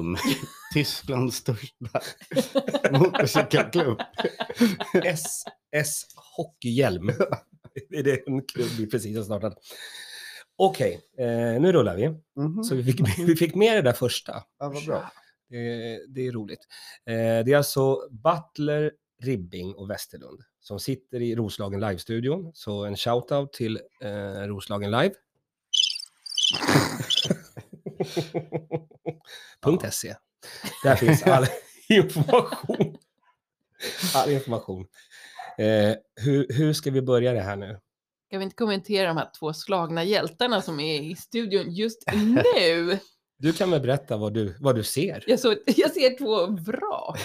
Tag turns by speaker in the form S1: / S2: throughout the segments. S1: Tysklands största motorcykelklubb.
S2: SS Hockeyhjälm. det är det en klubb vi precis har startat. Okej, eh, nu rullar vi.
S1: Mhm.
S2: Så vi fick, vi fick med det där första.
S1: Ja, vad bra.
S2: Det, det är roligt. Eh, det är alltså Butler, Ribbing och Westerlund som sitter i Roslagen Live-studion. Så en shout-out till eh, Roslagen Live. Punkt .se. Där finns all information. All information. Eh, hur, hur ska vi börja det här nu?
S3: Ska vi inte kommentera de här två slagna hjältarna som är i studion just nu?
S2: Du kan väl berätta vad du, vad du ser?
S3: Jag, såg, jag ser två vrak.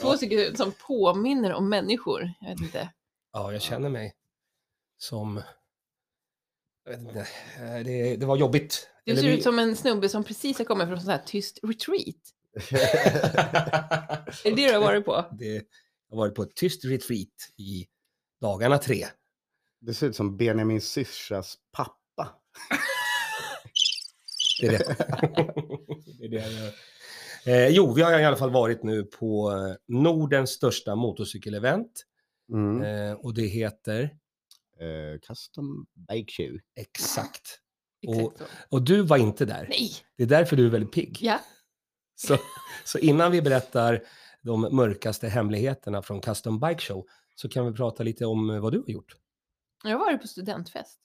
S3: Två stycken som påminner om människor. Jag vet inte.
S2: Ja, jag känner mig som... Jag vet inte. eh, Det, det var jobbigt.
S3: Du
S2: Eller
S3: ser
S2: vi-
S3: ut som en snubbe som precis har kommit från sån här tyst retreat. Är det det du har varit på?
S2: det, jag har varit på ett tyst retreat i dagarna tre.
S1: Det ser ut som Benjamin syrsas pappa.
S2: Det är det. det, är det jag gör. Eh, jo, vi har i alla fall varit nu på eh, Nordens största motorcykelevent.
S1: Mm.
S2: Eh, och det heter
S1: Eh, custom Bike Shoe.
S2: Exakt.
S3: Exakt så.
S2: Och du var inte där.
S3: Nej,
S2: Det är därför du är väldigt pigg.
S3: ja.
S2: Så, så innan vi berättar de mörkaste hemligheterna från Custom Bike Show så kan vi prata lite om eh, vad du har gjort.
S3: Jag har varit på studentfest.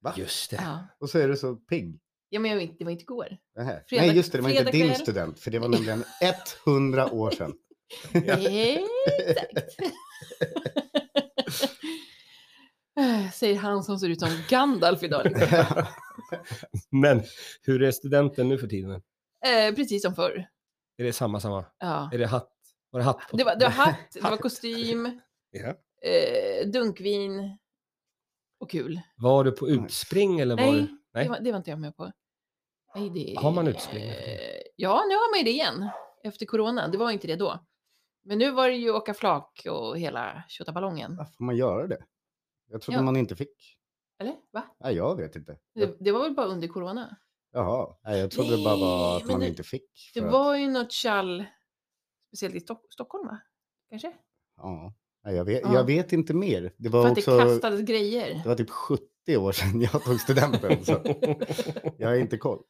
S1: Va?
S2: Just det.
S3: Ja,
S1: Och så är du så pigg.
S3: ja men jag vet inte, det var inte igår.
S1: Nähä.
S3: Fredag-
S1: Nej, just det, det var inte
S3: fredag
S1: din
S3: kväll.
S1: student, för det var nämligen 100 år sedan.
S3: Exakt. Säger han som ser ut som Gandalf idag. Liksom.
S2: Men hur är studenten nu för tiden?
S3: Eh, precis som förr.
S2: Är det samma, samma?
S3: Ja.
S2: Är det hatt? Var det hatt på?
S3: Det, var, det var hatt, det var kostym,
S2: Ja.
S3: eh, dunkvin och kul.
S2: Var du på utspring eller var
S3: Nej,
S2: du...
S3: Det, var, det var inte jag med på. Nej, det,
S2: Har man utspring nu för
S3: Eh, Ja, nu har man ju det igen. Efter corona. Det var ju inte det då. Men nu var det ju åka flak och hela tjottaballongen.
S1: Ja, Får man göra det? Jag trodde
S3: Ja.
S1: man inte fick.
S3: Eller? Va?
S1: Nej, jag vet inte.
S3: Det, det var väl bara under corona?
S1: Jaha, nej, jag trodde det bara var
S3: Nej,
S1: att
S3: men
S1: man
S3: det-
S1: inte fick.
S3: Det
S1: för att-
S3: var ju något tjall, speciellt i Stock- Stockholm va? Kanske?
S1: Ja. Nej, jag, vet,
S3: Ja.
S1: jag vet inte mer. Det
S3: För
S1: var,
S3: att det
S1: också, det,
S3: kastades grejer.
S1: var typ 70 år sedan jag tog studenten. så jag har inte koll.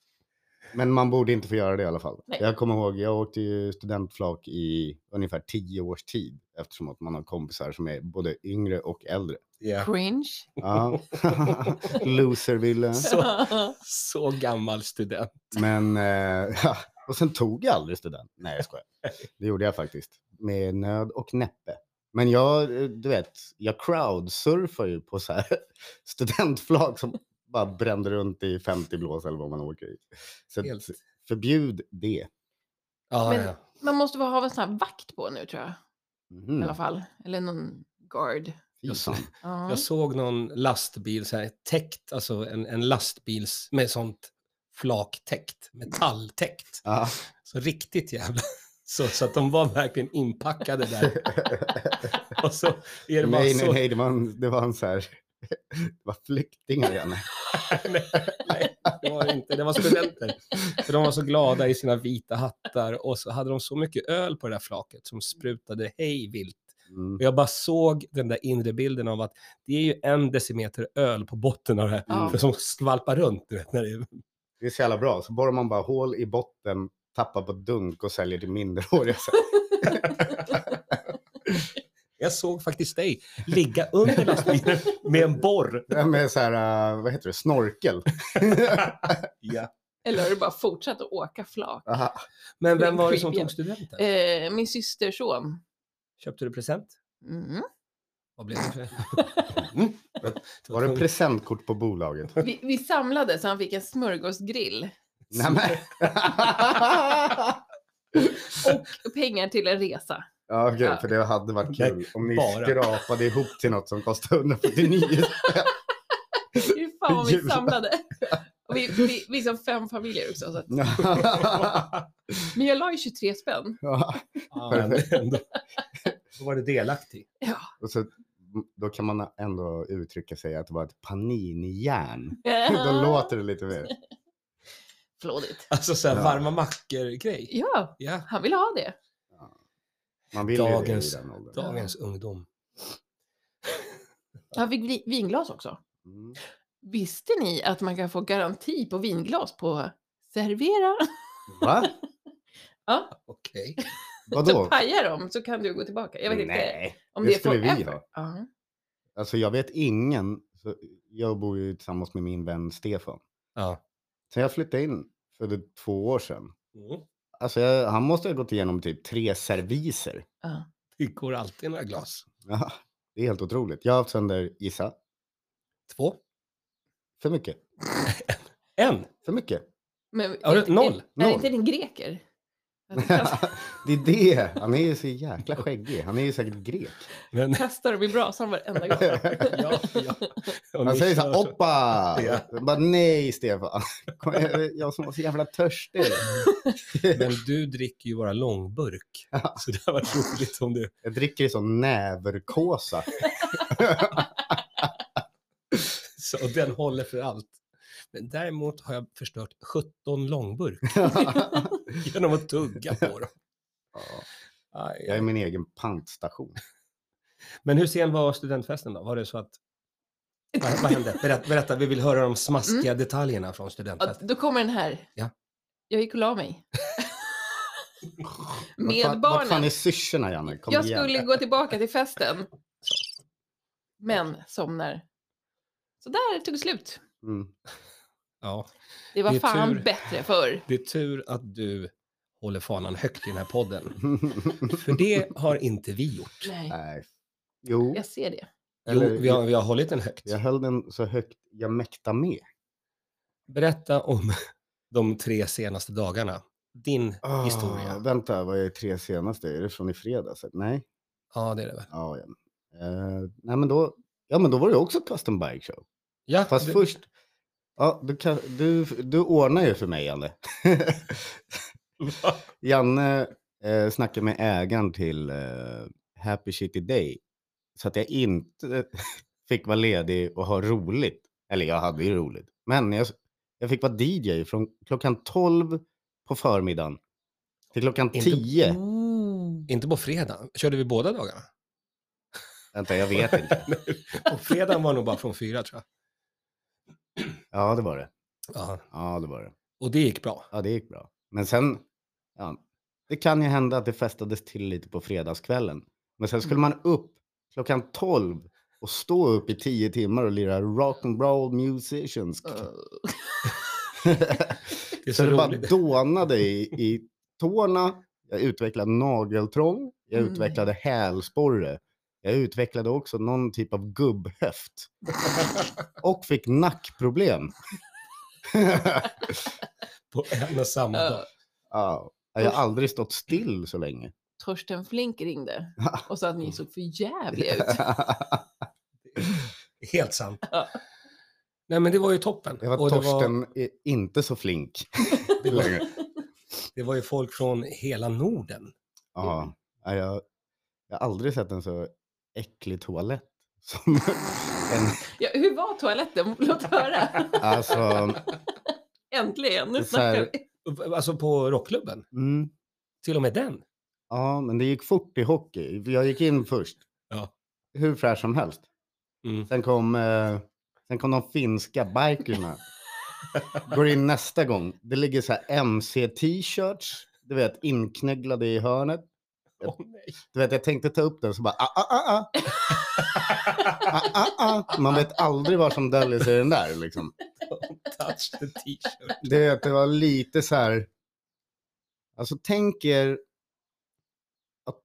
S1: Men man borde inte få göra det i alla fall.
S3: Nej.
S1: Jag kommer ihåg, jag åkte ju studentflak i ungefär 10 års tid eftersom att man har kompisar som är både yngre och äldre.
S2: Ja.
S3: Cringe.
S1: Ja. Loserville.
S2: Så, så gammal student.
S1: Men, eh, ja. och sen tog jag aldrig student. Nej, jag skojar. Det gjorde jag faktiskt. Med nöd och näppe. Men jag, eh, du vet, jag crowdsurfar ju på så här studentflak som bara brände runt i 50 blås eller vad man åker i. Så att
S2: Helt.
S1: förbjud det.
S2: Ja,
S3: Men-
S2: ja.
S3: Man måste väl ha en sån här vakt på nu tror jag. I
S1: Mm.
S3: alla fall. Eller någon guard.
S1: fy fan.
S3: Ja.
S2: Jag såg någon lastbil, så här, täckt, alltså en, en lastbils med sånt flaktäckt, metalltäckt.
S1: Ja.
S2: Så riktigt jävla... Så, så att de var verkligen inpackade där. Och så är det bara
S1: nej,
S2: så...
S1: nej, nej, det var en, det var en så här, det var flyktingar igen.
S2: Nej, det var det inte. Det var studenter. För de var så glada i sina vita hattar och så hade de så mycket öl på det där flaket som sprutade hej vilt.
S1: Mm.
S2: Och jag bara såg den där inre bilden av att det är ju en decimeter öl på botten av det här
S3: Ja.
S2: som skvalpar runt. Du vet, när det...
S1: Det är så jävla bra. Så borrar man bara hål i botten, tappar på dunk och säljer till minderåriga.
S2: Jag såg faktiskt dig ligga under lastbilen med en borr.
S1: Ja, med så här, eh, vad heter det, snorkel.
S2: Ja.
S3: Eller har du bara fortsatt att åka flak?
S1: Aha.
S2: Men vem var det som
S3: Creepy.
S2: tog studenten?
S3: Eh, min systerson.
S2: Köpte du present?
S3: Mm.
S2: Vad blev det för... Mm.
S1: Var det presentkort på bolaget?
S3: Vi, vi samlade så han fick en smörgåsgrill
S1: Nej, men.
S3: och pengar till en resa.
S1: ja, okej,
S3: Ja.
S1: för det hade varit kul om ni
S2: bara.
S1: skrapade ihop till något som kostade 149 spänn.
S3: Hur fan vad vi
S1: Jävlar.
S3: samlade. Och vi, vi, vi är som fem familjer också. Så att, men jag la ju 23 spänn.
S1: Ja,
S2: Ja, men ändå. Då var du delaktig.
S1: och så, då kan man ändå uttrycka sig att det var ett paninijärn. Då låter det lite mer.
S3: Eh, flådigt.
S2: Alltså så här
S1: Ja.
S2: varma mackor-grej.
S3: Ja,
S2: Ja,
S3: han vill ha det.
S1: Man vill ju det i
S2: Dagens-
S1: den åldern.
S2: dagens ungdom.
S3: Han fick vi- vinglas också.
S1: Mm.
S3: Visste ni att man kan få garanti på vinglas på Servera?
S1: Va?
S2: Okej.
S3: Så
S1: Vadå?
S3: pajar de så kan du gå tillbaka. Jag vet inte
S1: Nej,
S3: om
S1: det
S3: det är
S1: skulle vi
S3: forever.
S1: ha.
S3: Ja.
S1: alltså jag vet ingen. Så jag bor ju tillsammans med min vän Stefan.
S2: Ja.
S1: Sen jag flyttade in för det- två år sedan.
S2: Mm.
S1: Alltså jag, han måste ha gått igenom typ tre serviser.
S3: Ja.
S2: Det går alltid några glas.
S1: Ja, det är helt otroligt. Jag har haft sönder, gissa,
S2: Två.
S1: för mycket.
S2: En.
S1: För mycket.
S3: Men,
S2: Har du-
S3: är- är-
S2: noll?
S3: Är,
S1: Noll.
S3: inte din greker? Att du kastar-
S1: det är det. Han är ju så jäkla skäggig. Han är ju säkert grek.
S2: Men,
S3: Kastar dem i brasan varenda gång.
S2: ja, ja. alltså. Och
S1: Han
S2: ni
S1: säger så
S2: kör
S1: här,
S2: så.
S1: oppa!
S2: Ja.
S1: Jag Bara, nej Stefan. Kom, jag- Jag som var så jävla törstig.
S2: Men du dricker ju bara långburk.
S1: Ja.
S2: Så det hade varit roligt om du...
S1: Jag dricker i sån näverkåsa.
S2: Så, och den håller för allt. Men däremot har jag förstört 17 långburk genom att tugga på dem.
S1: Ja,
S2: Aj,
S1: jag är
S2: aj.
S1: min egen pantstation.
S2: Men hur sen var studentfesten då? Var det så att... Vad, vad hände? Berätta, berätta, vi vill höra de smaskiga
S1: Mm.
S2: detaljerna från
S3: Ja,
S2: studentfesten.
S3: då kommer den här.
S2: Ja.
S3: Jag gick och la mig. Med
S1: vart, fan- Vart fan är
S3: barnen.
S1: syrsorna Janne? Kom
S3: Jag
S1: igen.
S3: skulle gå tillbaka till festen. Men somnar. Så där tog det slut.
S1: Mm.
S2: Ja,
S3: Det var
S2: Det är
S3: fan
S2: tur.
S3: bättre förr.
S2: det är tur att du håller fanan högt i den här podden. För det har inte vi gjort.
S3: Nej,
S1: Nej. Jo,
S3: jag ser det.
S2: Jo,
S1: Eller-
S2: vi har, vi har hållit den högt.
S1: jag höll den så högt jag mäktade med.
S2: Berätta om de tre senaste dagarna. Din historia.
S1: Ah, Vänta, vad är tre senaste? Är det från i fredags? Nej.
S2: Ja, det är det väl?
S1: Ja, ja. Eh, nej, men då, ja, men då var det också custom bike show.
S2: Ja,
S1: Fast
S2: det-
S1: först, ja, du, kan, du, du ordnar ju för mig Janne. Janne eh, snackade med ägaren till eh, Happy City Day så att jag inte fick vara ledig och ha roligt. Eller jag hade ju roligt, men jag, jag fick vara DJ från klockan 12 på förmiddagen till klockan
S2: Inte-
S1: 10.
S2: Inte på fredag. Körde vi båda dagarna?
S1: Vänta, jag vet inte.
S2: På fredagen var nog bara från fyra, tror jag.
S1: Ja, det var det.
S2: Ja,
S1: Ja, det var det.
S2: och det gick bra.
S1: Ja, det gick bra. Men sen, ja, det kan ju hända att det festades till lite på fredagskvällen. Men sen
S2: Mm.
S1: skulle man upp klockan 12 och stå upp i 10 timmar och lira rock and roll musicians.
S3: Eh,
S2: Det
S1: så
S2: är så,
S1: det bara
S2: roligt.
S1: dånade i, i tårna. Jag utvecklade nageltrång. Jag
S3: Mm.
S1: utvecklade hälsporre. Jag utvecklade också någon typ av gubbhöft. Och fick nackproblem.
S2: På en och samma
S3: Ja.
S2: dag.
S1: Ja, jag har aldrig stått still så länge.
S3: Torsten Flink ringde och sa att ni såg för jävliga ut.
S2: Helt sant.
S3: Ja.
S2: Nej, men det var ju toppen.
S1: Det var
S2: Och det, var,
S1: Torsten eh, inte så flink
S2: det, var,
S1: längre.
S2: det var ju folk från hela Norden.
S1: Ja, ja, jag, jag har aldrig sett en så äcklig toalett. Som en,
S3: Ja, hur var toaletten? Låt höra.
S1: alltså,
S3: Äntligen,
S1: Det är
S3: nu
S1: så här-
S3: snackar vi.
S2: Alltså på rockklubben.
S1: mm,
S2: Till och med den.
S1: ja, men det gick fort i hockey. Jag gick in först.
S2: Ja.
S1: Hur fräsch som helst.
S2: Mm.
S1: Sen kom, eh, sen kom de finska bikerna. Går in nästa gång. Det ligger så här MC-t-shirts. Du vet, inknögglade i hörnet.
S2: Åh, nej.
S1: Du vet, jag tänkte ta upp den så bara ah, ah, ah, ah. ah, ah, ah. Man vet aldrig vad som döljer sig i den där. Liksom.
S2: Touch the t-shirt.
S1: Du vet, det var lite så här. Alltså tänk er att,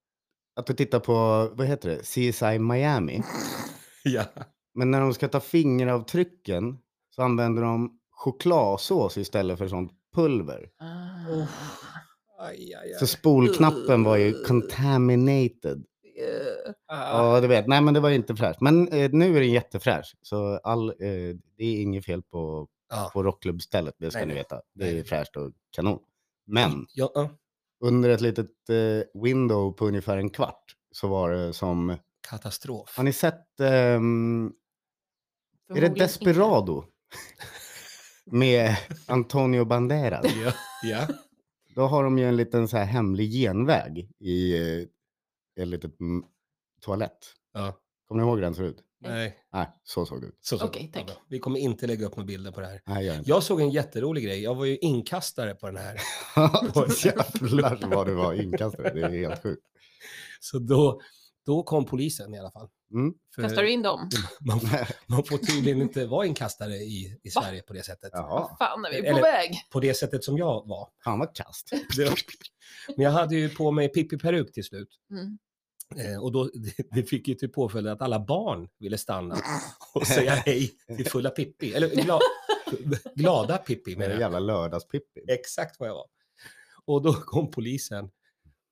S1: att du tittar på, vad heter det, CSI Miami.
S2: Ja.
S1: Men när de ska ta fingeravtrycken så använder de chokladsås istället för sånt pulver.
S3: Ah,
S2: Oh. Aj, aj,
S1: Så
S2: aj.
S1: spolknappen var ju contaminated.
S3: eh,
S2: Ah.
S1: Ja, du vet. Nej, men det var inte fräscht. Men eh, nu är den jättefräsch. Så all, eh, det är inget fel på,
S2: Ja.
S1: på rockklubbstället, det ska
S2: Nej,
S1: ni
S2: nej.
S1: veta. Det
S2: Nej, Mm.
S1: är
S2: nej.
S1: fräscht och kanon. Men
S2: Ja, ja.
S1: under ett litet eh, window på ungefär en kvart så var det som...
S2: katastrof.
S1: Har ni sett... ehm, är det
S3: förmodligen inte.
S1: Desperado? med Antonio Banderas.
S2: Ja, ja.
S1: Då har de ju en liten så här hemlig genväg i eh, en liten mm, toalett.
S2: ja.
S1: Kommer ni ihåg hur den såg ut?
S2: Nej,
S1: Nej, så såg det ut.
S2: så, så.
S3: Okej, tack.
S2: Ja, bra. Vi kommer inte lägga upp några bilder på det här.
S1: Nej, gör inte.
S2: Jag såg en jätterolig grej. Jag var ju inkastare på den här.
S1: Jävlar vad det var inkastare. Det är helt sjukt.
S2: Så då, då kom polisen i alla fall.
S1: Mm.
S2: För
S3: Kastar du in dem?
S2: man, man får tydligen inte vara inkastare i, i Sverige på det sättet.
S1: Jaha,
S3: Fan, är vi på
S2: Eller-
S3: väg?
S2: På det sättet som jag var.
S1: han var kast.
S2: Det, men jag hade ju på mig Pippi-peruk till slut.
S3: Mm.
S2: Eh, och då, det, det fick ju till påföljd att alla barn ville stanna och säga hej till fulla Pippi. Eller gla, glada Pippi menar
S1: Med
S2: jag.
S1: jävla lördagspippi.
S2: exakt vad jag var. Och då kom polisen.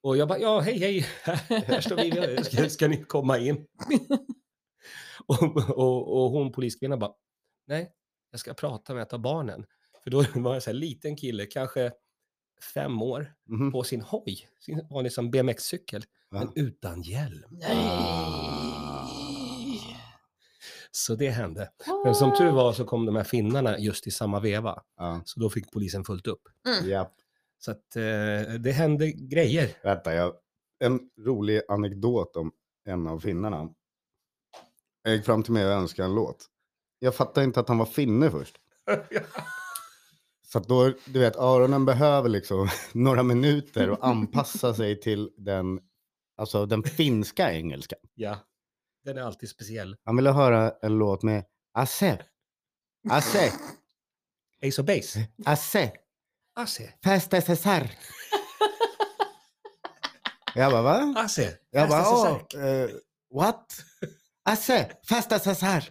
S2: Och jag bara, ja hej hej, här står vi, ska, ska ni komma in? Och, och, och hon poliskvinnan bara, nej, jag ska prata med ett av barnen. För då var en så här liten kille, kanske fem år,
S1: Mhm.
S2: på sin hoj, sin liksom vanlig som BMX-cykel, men
S1: Va?
S2: utan hjälm.
S3: Nej.
S2: Så det hände. Men som tur var så kom de här finnarna just i samma veva,
S1: Ja.
S2: så då fick polisen fullt upp.
S3: Mm.
S1: Ja,
S2: Så att eh, det hände grejer.
S1: vänta. Jag... En rolig anekdot om en av finnarna. Jag gick fram till mig och önskade en låt. Jag fattade inte att han var finne först. Så att då, du vet, öronen behöver liksom några minuter och anpassa sig till den, alltså den finska engelskan.
S2: Ja. Den är alltid speciell.
S1: Han ville höra en låt med Asse, Asse,
S2: Ace of Base.
S1: Asse,
S2: Asse.
S1: Festa Cesar. Jag bara, va?
S2: Asse.
S1: Jag bara,
S2: Fasta
S1: åh,
S2: Cesar.
S1: eh, what? Asse, festa Cesar.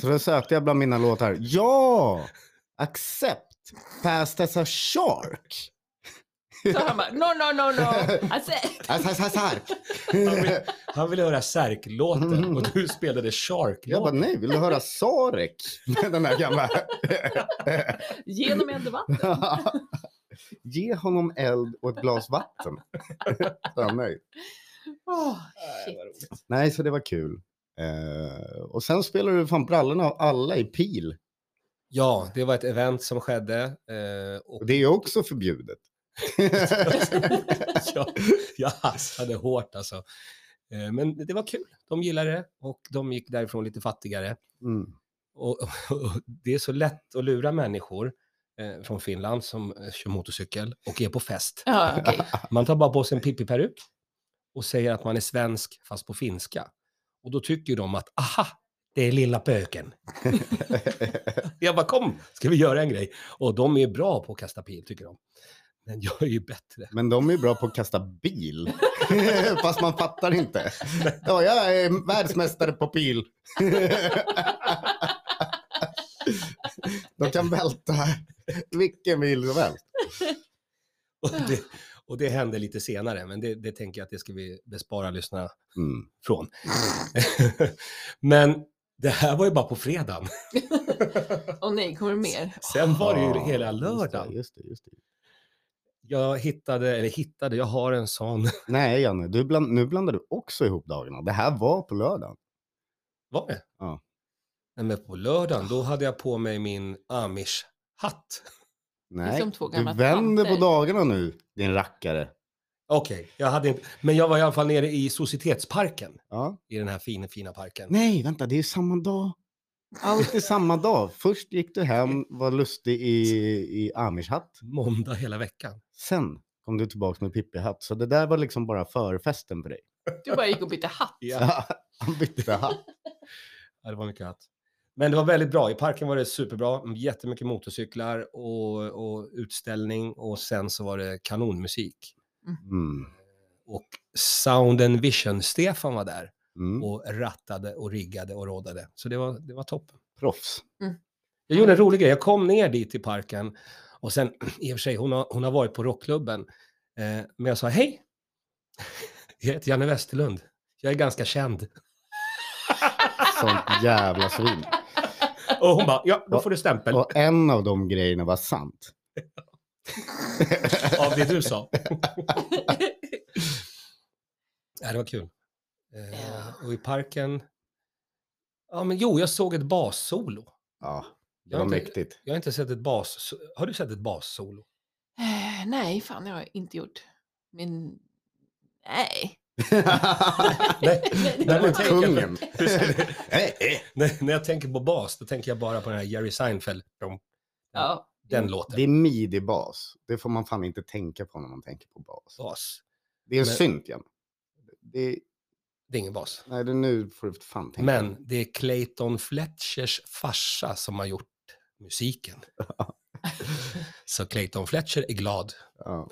S1: Så då sökte jag bland mina låtar. Ja! Accept, festa Shark.
S3: Så han bara, no, no, no, no. Alltså,
S1: Asse Cesar.
S2: Han ville höra Särk-låten och du spelade
S1: Jag bara,
S2: Shark-låten.
S1: nej, vill du höra Sarek? Den där gamla.
S3: genom eldvatten.
S1: Ge honom eld och ett glas vatten. Så han nöjd.
S3: Oh,
S2: Nej,
S3: shit.
S2: vad roligt.
S1: Nej, så det var kul. Eh, och sen spelade du fan brallorna av alla i pil.
S2: Ja, det var ett event som skedde. eh, Och
S1: Och det är ju också förbjudet.
S2: jag, jag hassade hårt alltså. Eh, Men det var kul. De gillade det och de gick därifrån lite fattigare.
S1: mm.
S2: Och, och det är så lätt att lura människor eh, från Finland som eh, kör motorcykel och är på fest.
S3: Ja, okej.
S2: Man tar bara på sig en pippi-peruk och säger att man är svensk fast på finska. Och då tycker de att aha, det är lilla pöken. Jag bara kom, ska vi göra en grej? Och de är bra på att kasta pil tycker de. Men jag är ju bättre.
S1: Men de är ju bra på att kasta bil. Fast man fattar inte. Ja, jag är världsmästare på pil. De kan välta vilken bil som helst.
S2: Och det, och det hände lite senare, men det, det tänker jag att det ska vi bespara lyssnarna
S1: Mm.
S2: från. men det här var ju bara på fredagen.
S3: Och nej, kommer det mer?
S2: Sen var det ju
S1: Ah,
S2: hela
S1: Just det,
S2: lördagen.
S1: just det, just det.
S2: Jag hittade, eller hittade, jag har en sån,
S1: Nej, Janne, du bland, nu blandar du också ihop dagarna. Det här var på lördagen.
S2: Var det?
S1: Ja.
S2: Nej, men på lördagen, då hade jag på mig min amish-hatt.
S1: Nej,
S3: som två
S1: du
S3: gamla
S1: vänder på
S3: tanter.
S1: dagarna nu, din rackare.
S2: Okej, jag hade inte... Men jag var i alla fall nere i societetsparken,
S1: Ja.
S2: i den här fina, fina parken.
S1: Nej, vänta, det är ju samma dag. Allt är samma dag. Först gick du hem, var lustig i, i amish-hatt.
S2: Måndag hela veckan.
S1: Sen kom du tillbaka med Pippi-hatt. Så det där var liksom bara förfesten för dig.
S3: Du bara gick och bytte hatt.
S2: Ja.
S1: Han bytte hatt.
S2: ja, det var mycket hatt. Men det var väldigt bra. I parken var det superbra. Jättemycket motorcyklar och, och utställning och sen så var det kanonmusik.
S1: Mm.
S2: Och Sound and Vision-Stefan var där
S1: Mm.
S2: och rattade och riggade och rådade. Så det var, det var toppen.
S1: Proffs.
S2: Jag gjorde en rolig grej. Jag kom ner dit till parken och sen, i och för sig, hon har, hon har varit på rockklubben. Eh, men jag sa hej. Jag heter Janne Westerlund. Jag är ganska känd.
S1: Sånt jävla svin.
S2: Och hon bara, ja, då får du stämpel.
S1: Och en av de grejerna var sant.
S2: Av det du sa. Ja, det var kul. Eh,
S3: Ja.
S2: och i parken, ja men jo, jag såg ett bassolo.
S1: Ja, det
S2: Jag
S1: var
S2: har inte-
S1: mäktigt.
S2: Jag har inte sett ett bas... Har du sett ett bassolo?
S3: Eh, nej, fan, det har jag inte gjort. Men nej.
S2: Nej,
S3: det
S2: där
S3: har
S2: var
S3: jag inte gjort.
S1: Kungen. Nej, eh.
S2: när, när jag tänker på bas, då tänker jag bara på den här Jerry Seinfeld.
S1: Mm.
S2: De-
S3: Ja.
S2: Den
S3: Jo.
S2: låten.
S1: Det är midi-bas. Det får man fan inte tänka på när man tänker på bas.
S2: Bas.
S1: Det är en
S2: Men-
S1: synt, Jan. Det är,
S2: Det är ingen bas.
S1: nej, det nu får du fan tänka.
S2: Men det är Clayton Fletchers farsa som har gjort musiken. Så Clayton Fletcher är glad.
S1: Ja.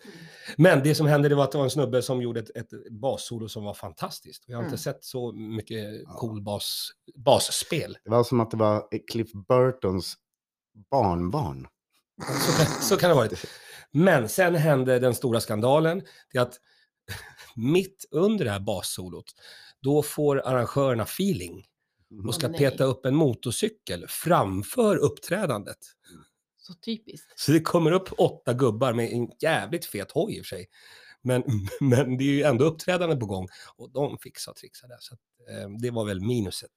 S2: Men det som hände det var att det var en snubbe som gjorde ett, ett bassolo som var fantastiskt. Jag har inte
S3: Mm.
S2: sett så mycket
S1: Ja.
S2: cool bas, basspel.
S1: Det var som att det var Cliff Burtons barnbarn.
S2: Så kan, så kan det ha varit. Men sen hände den stora skandalen. Det är att mitt under det här bassolot, då får arrangörerna feeling och ska
S3: Åh, nej.
S2: peta upp en motorcykel framför uppträdandet.
S3: Så typiskt.
S2: Så det kommer upp åtta gubbar med en jävligt fet hoj i och för sig. Men, men det är ju ändå uppträdande på gång och de fixar och trixar där. Så att, eh, det var väl minuset.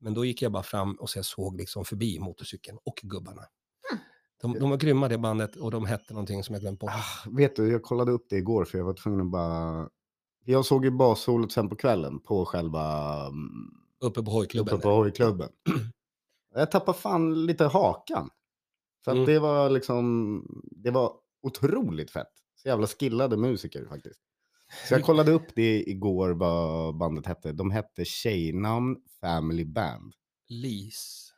S2: Men då gick jag bara fram och så jag såg liksom förbi motorcykeln och gubbarna.
S1: Hmm.
S2: De, de var grymma det bandet och de hette någonting som jag glömt bort.
S1: Ah, vet du, jag kollade upp det igår för jag var tvungen att bara... Jag såg ju bassolot sen på kvällen på själva mm,
S2: Uppe på hojklubben.
S1: uppe på hojklubben. Jag tappade fan lite hakan. För att
S2: Mm.
S1: det var liksom, det var otroligt fett. Så jävla skillade musiker faktiskt. Så jag kollade upp det igår vad bandet hette. De hette Tjejnamn Family Band.
S2: Lis.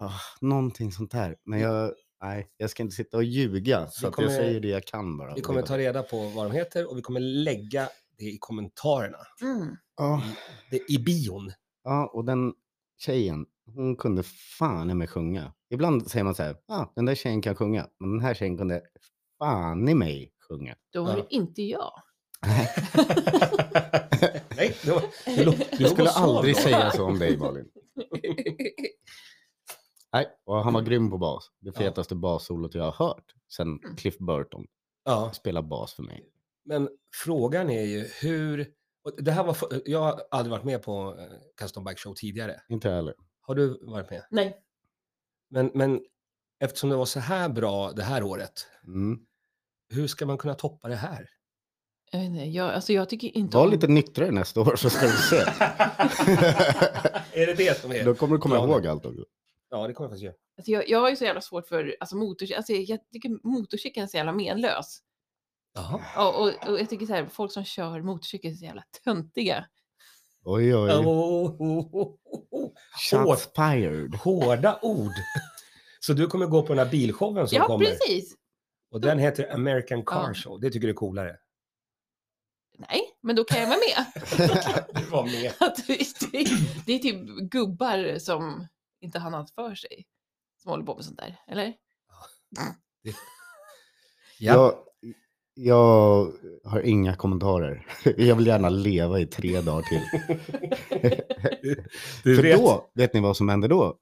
S1: Ah, någonting sånt där. Men jag, nej, jag ska inte sitta och ljuga. Så
S2: Vi
S1: att
S2: kommer-
S1: jag säger det jag kan bara.
S2: Vi kommer ta reda på vad de heter och vi kommer lägga det i kommentarerna.
S3: Mm.
S1: Ja,
S2: Det, I bion.
S1: Ja, och den tjejen, hon kunde fan i mig sjunga. Ibland säger man så här, ah, den där tjejen kan sjunga, men den här tjejen kunde fan i mig sjunga.
S3: Då
S2: Ja.
S3: var det inte jag.
S2: Nej, det var, det lå- det
S1: Jag
S2: låg
S1: skulle
S2: och sov
S1: aldrig
S2: då.
S1: säga så om dig, Malin. Nej, och han var grym på bas. Det
S2: Mm. Ja.
S1: fetaste bassolot jag har hört sen
S3: Mm.
S1: Cliff Burton
S2: Ja,
S1: spelade bas för mig.
S2: men frågan är ju hur... och Det här var, för- jag har aldrig varit med på eh, Custom Bike Show tidigare.
S1: Inte jag heller.
S2: Har du varit med?
S3: Nej.
S2: Men, men eftersom det var så här bra det här året,
S1: Mm.
S2: hur ska man kunna toppa det här?
S3: Jag, vet inte, jag, alltså jag tycker inte
S1: Var lite nyktrare nästa år så ska du se.
S2: är det det som
S1: Då
S2: är?
S1: kommer du komma
S2: Planen.
S1: ihåg allt. också.
S2: Ja, det kommer jag faktiskt göra.
S3: Alltså jag, jag har ju så jävla svårt för alltså motor, alltså jag tycker motorcykeln är så jävla menlös.
S2: Jaha.
S3: Och, och, och jag tycker så här, folk som kör motorcykel är så jävla töntiga.
S1: Oj, oj.
S2: Oh, oh, oh, oh, oh.
S1: Shots fired.
S2: Hårda ord. Så du kommer gå på den här bilshowen som
S3: ja,
S2: kommer?
S3: precis.
S2: Och den heter American Car
S3: Ja.
S2: Show. Det tycker du är coolare?
S3: Nej, men då kan jag vara med.
S2: Du var med.
S3: Att det, är- det är typ gubbar som inte har något för sig som håller på med sånt där, eller?
S2: Ja.
S1: Jag, jag har inga kommentarer. Jag vill gärna leva i tre dagar till.
S2: Du
S1: För
S2: vet,
S1: då, vet ni vad som händer då? Då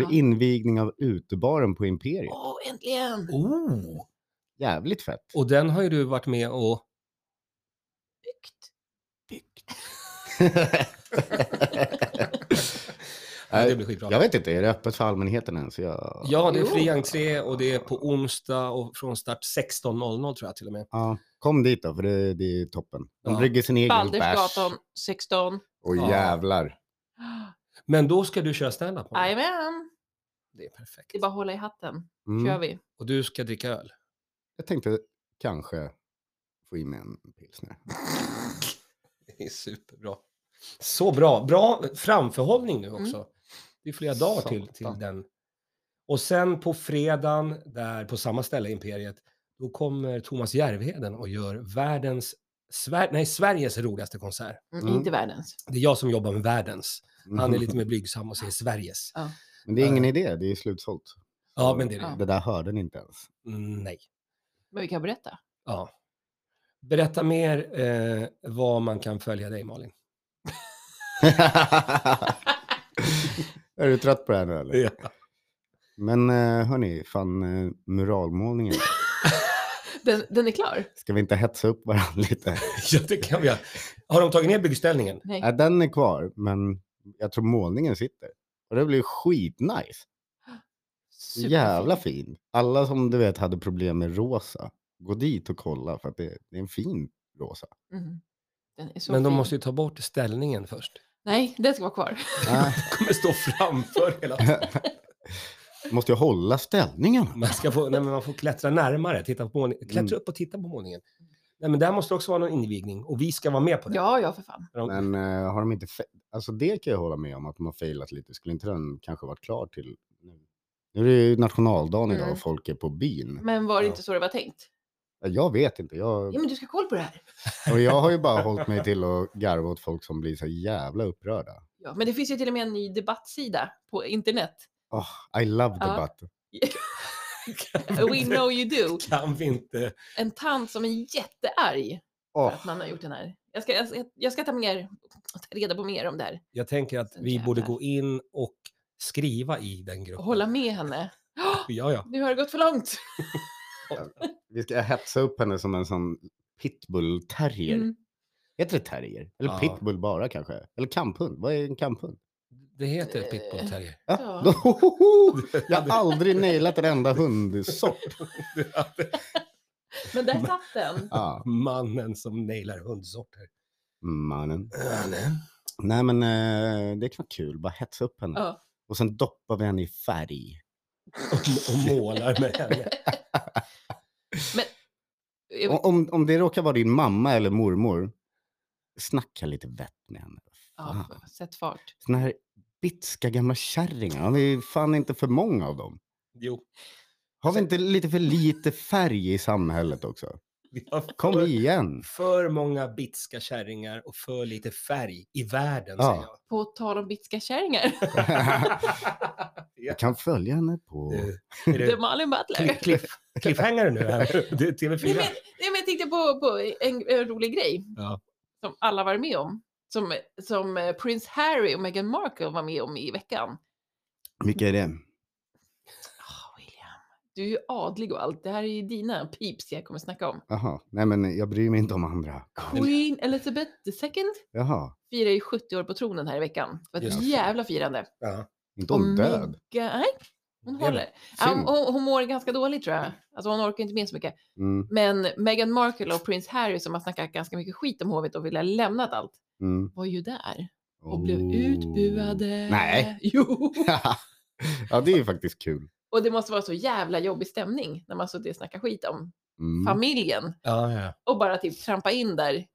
S1: är
S3: Va?
S1: det invigning av utebaren på Imperiet.
S3: Åh, äntligen!
S2: Oh.
S1: Jävligt fett.
S2: Och den har ju du varit med och...
S3: Byggt.
S2: Ja, det blir skitbra.
S1: jag vet inte, är det öppet för allmänheten ens? Jag...
S2: Ja, det är
S3: Jo.
S2: fri entré och det är på onsdag och från start 16.00 tror jag till och med.
S1: Ja, kom dit då, för det, det är toppen. De
S2: Ja.
S1: brygger sin egen bärs.
S3: Baldersgatan 16.
S1: Och
S2: Ja.
S1: jävlar.
S2: Men då ska du köra standup. Malin.
S3: Jajamän!
S2: Det är perfekt.
S3: Det är bara att hålla i hatten. Kör
S1: Mm.
S3: vi.
S2: Och du ska dricka öl.
S1: Jag tänkte kanske få in mig en pilsner.
S2: Det är superbra. Så bra. Bra framförhållning nu också.
S3: Mm.
S2: Det är flera dagar till, till
S1: Satan.
S2: den. Och sen på fredagen, där på samma ställe, Imperiet, då kommer Thomas Järvheden och gör världens, Sver nej, Sveriges roligaste konsert.
S3: Mm,
S1: Mm.
S3: Inte världens.
S2: Det är jag som jobbar med världens. Han är lite mer blygsam och säger Sveriges.
S1: Men det är ingen idé, det är slutsålt.
S2: Ja,
S1: Så
S2: men det är
S3: Ja.
S2: det.
S1: Det där hörde ni inte ens.
S2: Mm, Nej.
S3: Men vi kan berätta.
S2: Ja. Berätta mer eh, vad man kan följa dig, Malin.
S1: är du trött på det här nu eller?
S2: Ja.
S1: Men eh, hörni, fan eh, muralmålningen.
S3: Den, den är klar?
S1: Ska vi inte hetsa upp varandra lite?
S2: det kan vi göra. Har de tagit ner byggställningen?
S3: Nej.
S1: Ja, den är kvar, men jag tror målningen sitter. Och det blir skitnice.
S3: Superfin.
S1: Jävla fin. Alla som du vet hade problem med rosa, gå dit och kolla för att det, det är en fin rosa.
S3: Mm. Den är så
S2: Men de
S3: fin.
S2: måste ju ta bort ställningen först.
S3: Nej, den ska vara kvar.
S1: Nej,
S2: kommer stå framför hela
S1: måste jag hålla ställningen?
S2: man, ska få, nej, men man får klättra närmare, titta, på målningen, klättra
S1: Mm.
S2: upp och titta på målningen. Nej, men där måste det också vara någon invigning och vi ska vara med på det.
S3: Ja, ja för fan.
S2: För de-
S1: Men eh, har de inte... Fe- alltså det kan jag hålla med om att de har failat lite. Skulle inte den kanske varit klar till nu? Nu är det ju nationaldagen idag
S3: Mm.
S1: och folk är på byn. Eh,
S3: Men var det
S2: Ja.
S3: inte så det var tänkt?
S1: Jag vet inte.
S3: Ja,
S1: Jag,
S3: men du ska ha koll på det här.
S1: och jag har ju bara hållit mig till att garva åt folk som blir så jävla upprörda.
S3: Ja, men det finns ju till och med en ny debattsida på internet.
S1: Oh, I love
S3: Ja.
S1: debatt.
S3: We know you do.
S2: Kan vi inte...
S3: En tant som är jättearg för
S1: Åh,
S3: att man har gjort den här. Jag ska, jag ska, jag ska ta, mer, ta reda på mer om det här
S2: Jag tänker att
S3: Sån
S2: vi borde
S3: jävla-
S2: gå in och skriva i den
S3: och
S2: gruppen.
S3: hålla med henne. Åh,
S2: Ja, ja.
S3: nu har det gått för långt.
S1: vi ska hetsa upp henne som en sån pitbull-terrier.
S3: Mm.
S1: Heter det terrier? Eller
S2: Ja.
S1: pitbull bara kanske? Eller kamphund? Vad är en kamphund?
S2: Det heter
S3: Eh,
S2: pitbull terrier.
S1: Ja.
S3: Ja.
S1: Jag har aldrig nailat en enda hundsort.
S3: Men där satt den.
S1: Ja,
S2: Mannen som nailar hundsorter.
S1: mannen. Nej men eh, det kan vara kul, bara hetsa upp henne.
S3: Ja.
S1: Och sen doppar vi henne i färg.
S2: Och, och målar med henne.
S3: Jag-
S1: Och, om, om det råkar vara din mamma eller mormor, snacka lite vett med henne.
S3: Ja, sätt fart.
S1: Såna här bitska gamla kärringar, har vi fan inte för många av dem?
S2: Jo,
S1: Har vi inte lite för lite färg i samhället också?
S2: vi har
S1: Kom
S2: för,
S1: igen!
S2: för många bitska kärringar och för lite färg i världen,
S1: Ja.
S2: säger jag.
S3: På tal om bitska kärringar.
S2: ja.
S1: Jag kan följa henne på... Oh.
S2: Är
S3: Det är
S2: det
S3: Malin Butler.
S2: cliff, cliff, cliffhanger nu? Här? Det är
S3: Nej,
S2: TV4.
S3: men, nej, men jag tänkte på, på en, en rolig grej
S2: Ja.
S3: som alla var med om. Som, som eh, prins Harry och Meghan Markle var med om i veckan.
S1: Vilka är det?
S3: Ah, William, du är ju adlig och allt. Det här är ju dina pips jag kommer snacka om.
S1: Jaha, nej men jag bryr mig inte om andra.
S3: Queen Elizabeth II
S1: Jaha,
S3: firar ju 70 år på tronen här i veckan. Det var
S2: Just
S3: ett
S2: det.
S3: jävla firande.
S2: Ja.
S1: inte hon död?
S3: Meghan- Nej, hon
S2: Det är
S3: håller. Ja,
S1: Synd.
S3: hon, hon mår ganska dåligt tror jag. Alltså hon orkar inte med så mycket.
S1: Mm,
S3: Men Meghan Markle och prins Harry som har snackat ganska mycket skit om hovet och ville ha lämnat allt
S1: mm.
S3: var ju där och blev
S1: Oh.
S3: utbuade.
S1: Nej.
S3: Jo.
S1: ja, det är ju faktiskt kul.
S3: Och det måste vara så jävla jobbig stämning när man suttit och snackat skit om
S1: Mm.
S3: familjen
S2: Ja, ja.
S3: och bara typ trampa in där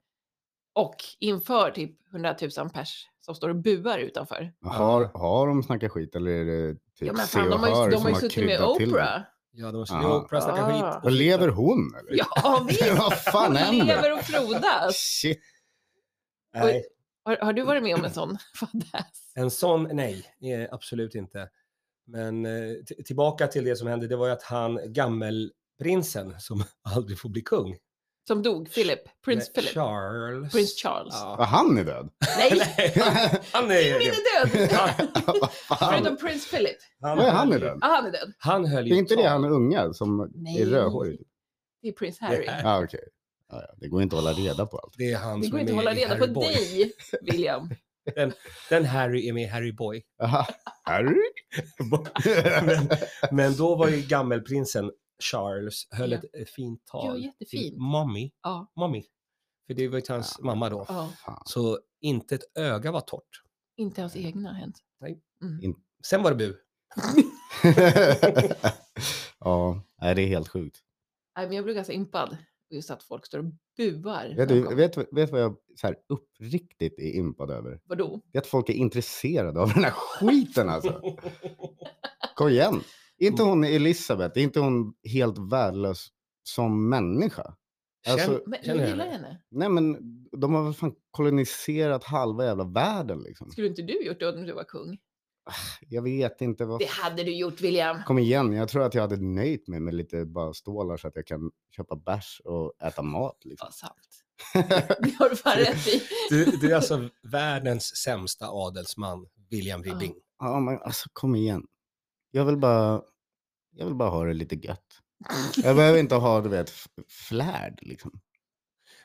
S3: och inför typ 100 000 pers som står och buar utanför.
S1: Har,
S2: Ja.
S1: har de snackat skit eller är det typ
S3: Ja, men
S1: se
S3: fan,
S1: och
S3: de
S1: hör
S3: har ju, de
S1: som
S3: har ju suttit med
S1: kryddat till det?
S3: Oprah.
S2: ja de har
S1: Aha.
S2: Oprah snackar
S3: Ah.
S2: skit.
S1: Och lever hon eller?
S3: Ja, visst!
S1: Vad fan
S3: Hon
S1: händer?
S3: lever och frodas.
S1: Shit.
S2: Nej,
S3: Har, har du varit med om en sån fadäs?
S2: en sån, nej, eh, absolut inte. Men eh, t- tillbaka till det som hände, det var ju att han gammelprinsen som aldrig får bli kung.
S3: Som dog, Philip. Prins
S2: eh,
S3: Philip.
S2: Charles.
S3: Prins Charles.
S1: Ja,
S2: Ja.
S1: han är död?
S3: Nej,
S2: Han är,
S3: min är död!
S1: Vad fan?
S3: Förutom prins Philip.
S2: han,
S1: Vad är han
S2: höll
S1: är
S2: ju-
S1: död?
S3: Ah, han är död.
S2: Han höll
S1: Det
S2: ju
S1: är inte
S2: tal.
S1: det han unga som
S3: Nej.
S1: är rödhårig? typ.
S3: Det är prins Harry.
S2: Det är-
S1: Ja, okej. Ja, ja, det går inte att hålla reda på allt.
S2: Det är han
S3: Det
S2: som
S3: går
S2: är
S3: inte att
S2: med
S3: hålla
S2: i
S3: reda på
S2: Harry Boy.
S3: dig, William.
S2: Den Harry är med i Harry Boy.
S1: Aha. Harry?
S2: men, men då var ju gammelprinsen Charles höll
S3: Ja.
S2: ett eh, fint
S3: Ja,
S2: tal till
S3: jättefint.
S2: mommy.
S3: Ja.
S2: mommy. För det var ju till hans
S1: Ja.
S2: mamma då.
S3: Ja,
S1: Fan.
S2: Så inte ett öga var torrt.
S3: inte hans egna har hänt.
S2: Sen var det bu.
S1: ja, nej, det är helt sjukt.
S3: Nej, men jag blev ganska impad. Just att folk står och buar.
S1: Vet
S3: bakom.
S1: du vet, vet vad jag så här, uppriktigt är impad över?
S3: Vadå?
S1: Det är att folk är intresserade av den här skiten alltså. Kom igen. Är inte hon Elisabeth, är inte hon helt värdelös som människa? Alltså,
S3: Men
S2: Känner
S3: jag
S2: jag
S3: gillar
S2: det?
S3: henne.
S1: nej men de har väl fan koloniserat halva jävla världen liksom.
S3: Skulle inte du gjort det om du var kung?
S1: Jag vet inte vad...
S3: Det hade du gjort, William.
S1: Kom igen, jag tror att jag hade nöjt mig med lite bara stålar så att jag kan köpa bärs och äta mat liksom.
S3: Ja, sant. Det har du fan rätt i.
S2: Du, du är alltså världens sämsta adelsman, William Ribbing.
S1: Ja men alltså kom igen. Jag vill bara, jag vill bara ha det lite gött. Jag behöver inte ha du vet f- flärd liksom.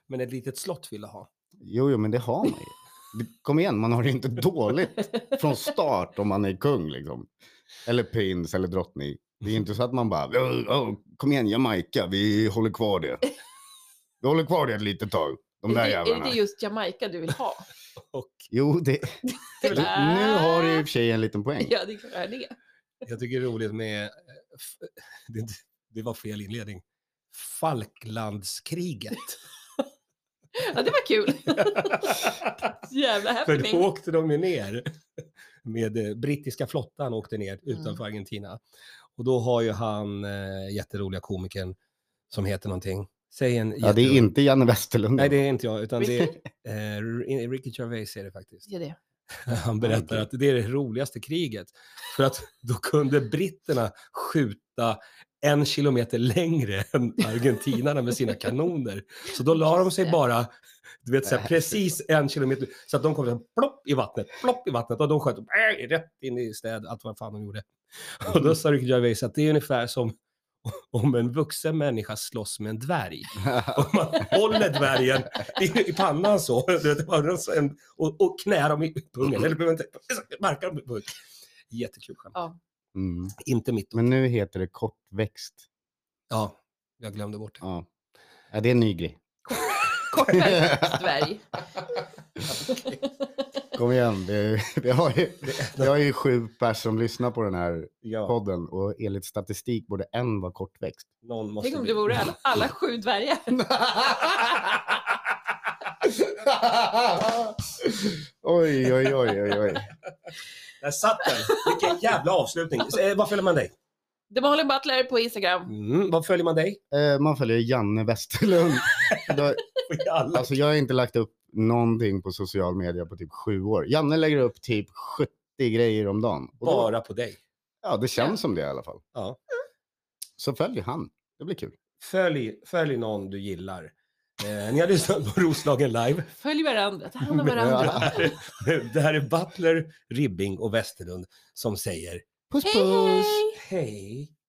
S2: Men ett litet slott ville ha.
S1: Jo, jo, men det har man ju. Det- Kom igen, man har det inte dåligt från start om man är kung liksom. Eller prins eller drottning. Det är ju inte så att man bara, "Åh, åh, kom igen Jamaica, vi håller kvar det. Vi håller kvar det ett litet tag, de där
S3: är, det, är
S1: jävlarna.
S3: det just Jamaica du vill ha?
S2: Och
S1: Jo, det, du, nu har du i och för sig en liten poäng.
S3: Ja, det är klart jag är det.
S2: jag tycker det är roligt med, eh, f- det, är inte- det var fel inledning, Falklandskriget.
S3: Ja, det var kul. Jävla
S2: För då
S3: happening.
S2: åkte de ju ner med eh, brittiska flottan åkte ner utanför Argentina. Och då har ju han eh, jätteroliga komikern som heter någonting. Säg en
S1: Ja, det är
S2: jätterolig-
S1: inte Janne Westerlund.
S2: Nej, det är inte jag, utan det är
S3: Ricky.
S2: eh, R- Ricky Gervais är det faktiskt.
S3: Det är det.
S2: Han berättar att det är det roligaste kriget. För att då kunde britterna skjuta en kilometer längre än argentinarna med sina kanoner. Så då la de sig bara, du vet, så här, precis en kilometer. Så att de kom så här, plopp i vattnet, plopp i vattnet. Och de sköt äh, rätt in i städ, allt vad fan de gjorde. Och då sa Ricky Gervais att det är ungefär som om en vuxen människa slåss med en dvärg. Om man håller dvärgen i, i pannan så, du vet, bara så en- och, och knär dem i pungen, eller behöver inte, markar dem i pungen. Jättekul skämt.
S3: Ja.
S1: Mm.
S2: Inte mitt.
S1: Men nu heter det kortväxt.
S2: Ja, jag glömde bort det.
S1: Ja, ja det är en ny grej.
S3: Kortväxt dvärg.
S1: Kom igen, det, vi, har ju, vi har ju sju pers som lyssnar på den här
S2: Ja,
S1: podden och enligt statistik borde en vara kortväxt.
S2: någon måste
S3: Tänk om
S2: bli-
S3: det vore alla, alla sju dvärgar.
S1: oj, oj, oj, oj, oj.
S2: Där satt den! Vilken jävla avslutning. Så, eh, Vad följer man dig?
S3: The Molly Butler på Instagram.
S2: Mm, vad följer man dig?
S1: Eh, Man följer Janne Westerlund. Då-
S2: Och Alla.
S1: Alltså jag har inte lagt upp någonting på social media på typ sju år. Janne lägger upp typ 70 grejer om dagen. Och då,
S2: Bara på dig.
S1: ja, det känns som det i alla fall.
S2: Ja.
S1: Så följer han. Det blir kul.
S2: Följ, följ någon du gillar. Eh, ni har lyssnat på Roslagen live.
S3: Följ varandra, ta hand om
S1: Ja.
S3: varandra.
S2: Det här är- Det här är Butler, Ribbing och Westerlund som säger
S1: Puss
S3: Hej,
S1: puss!
S3: hej!
S2: hej.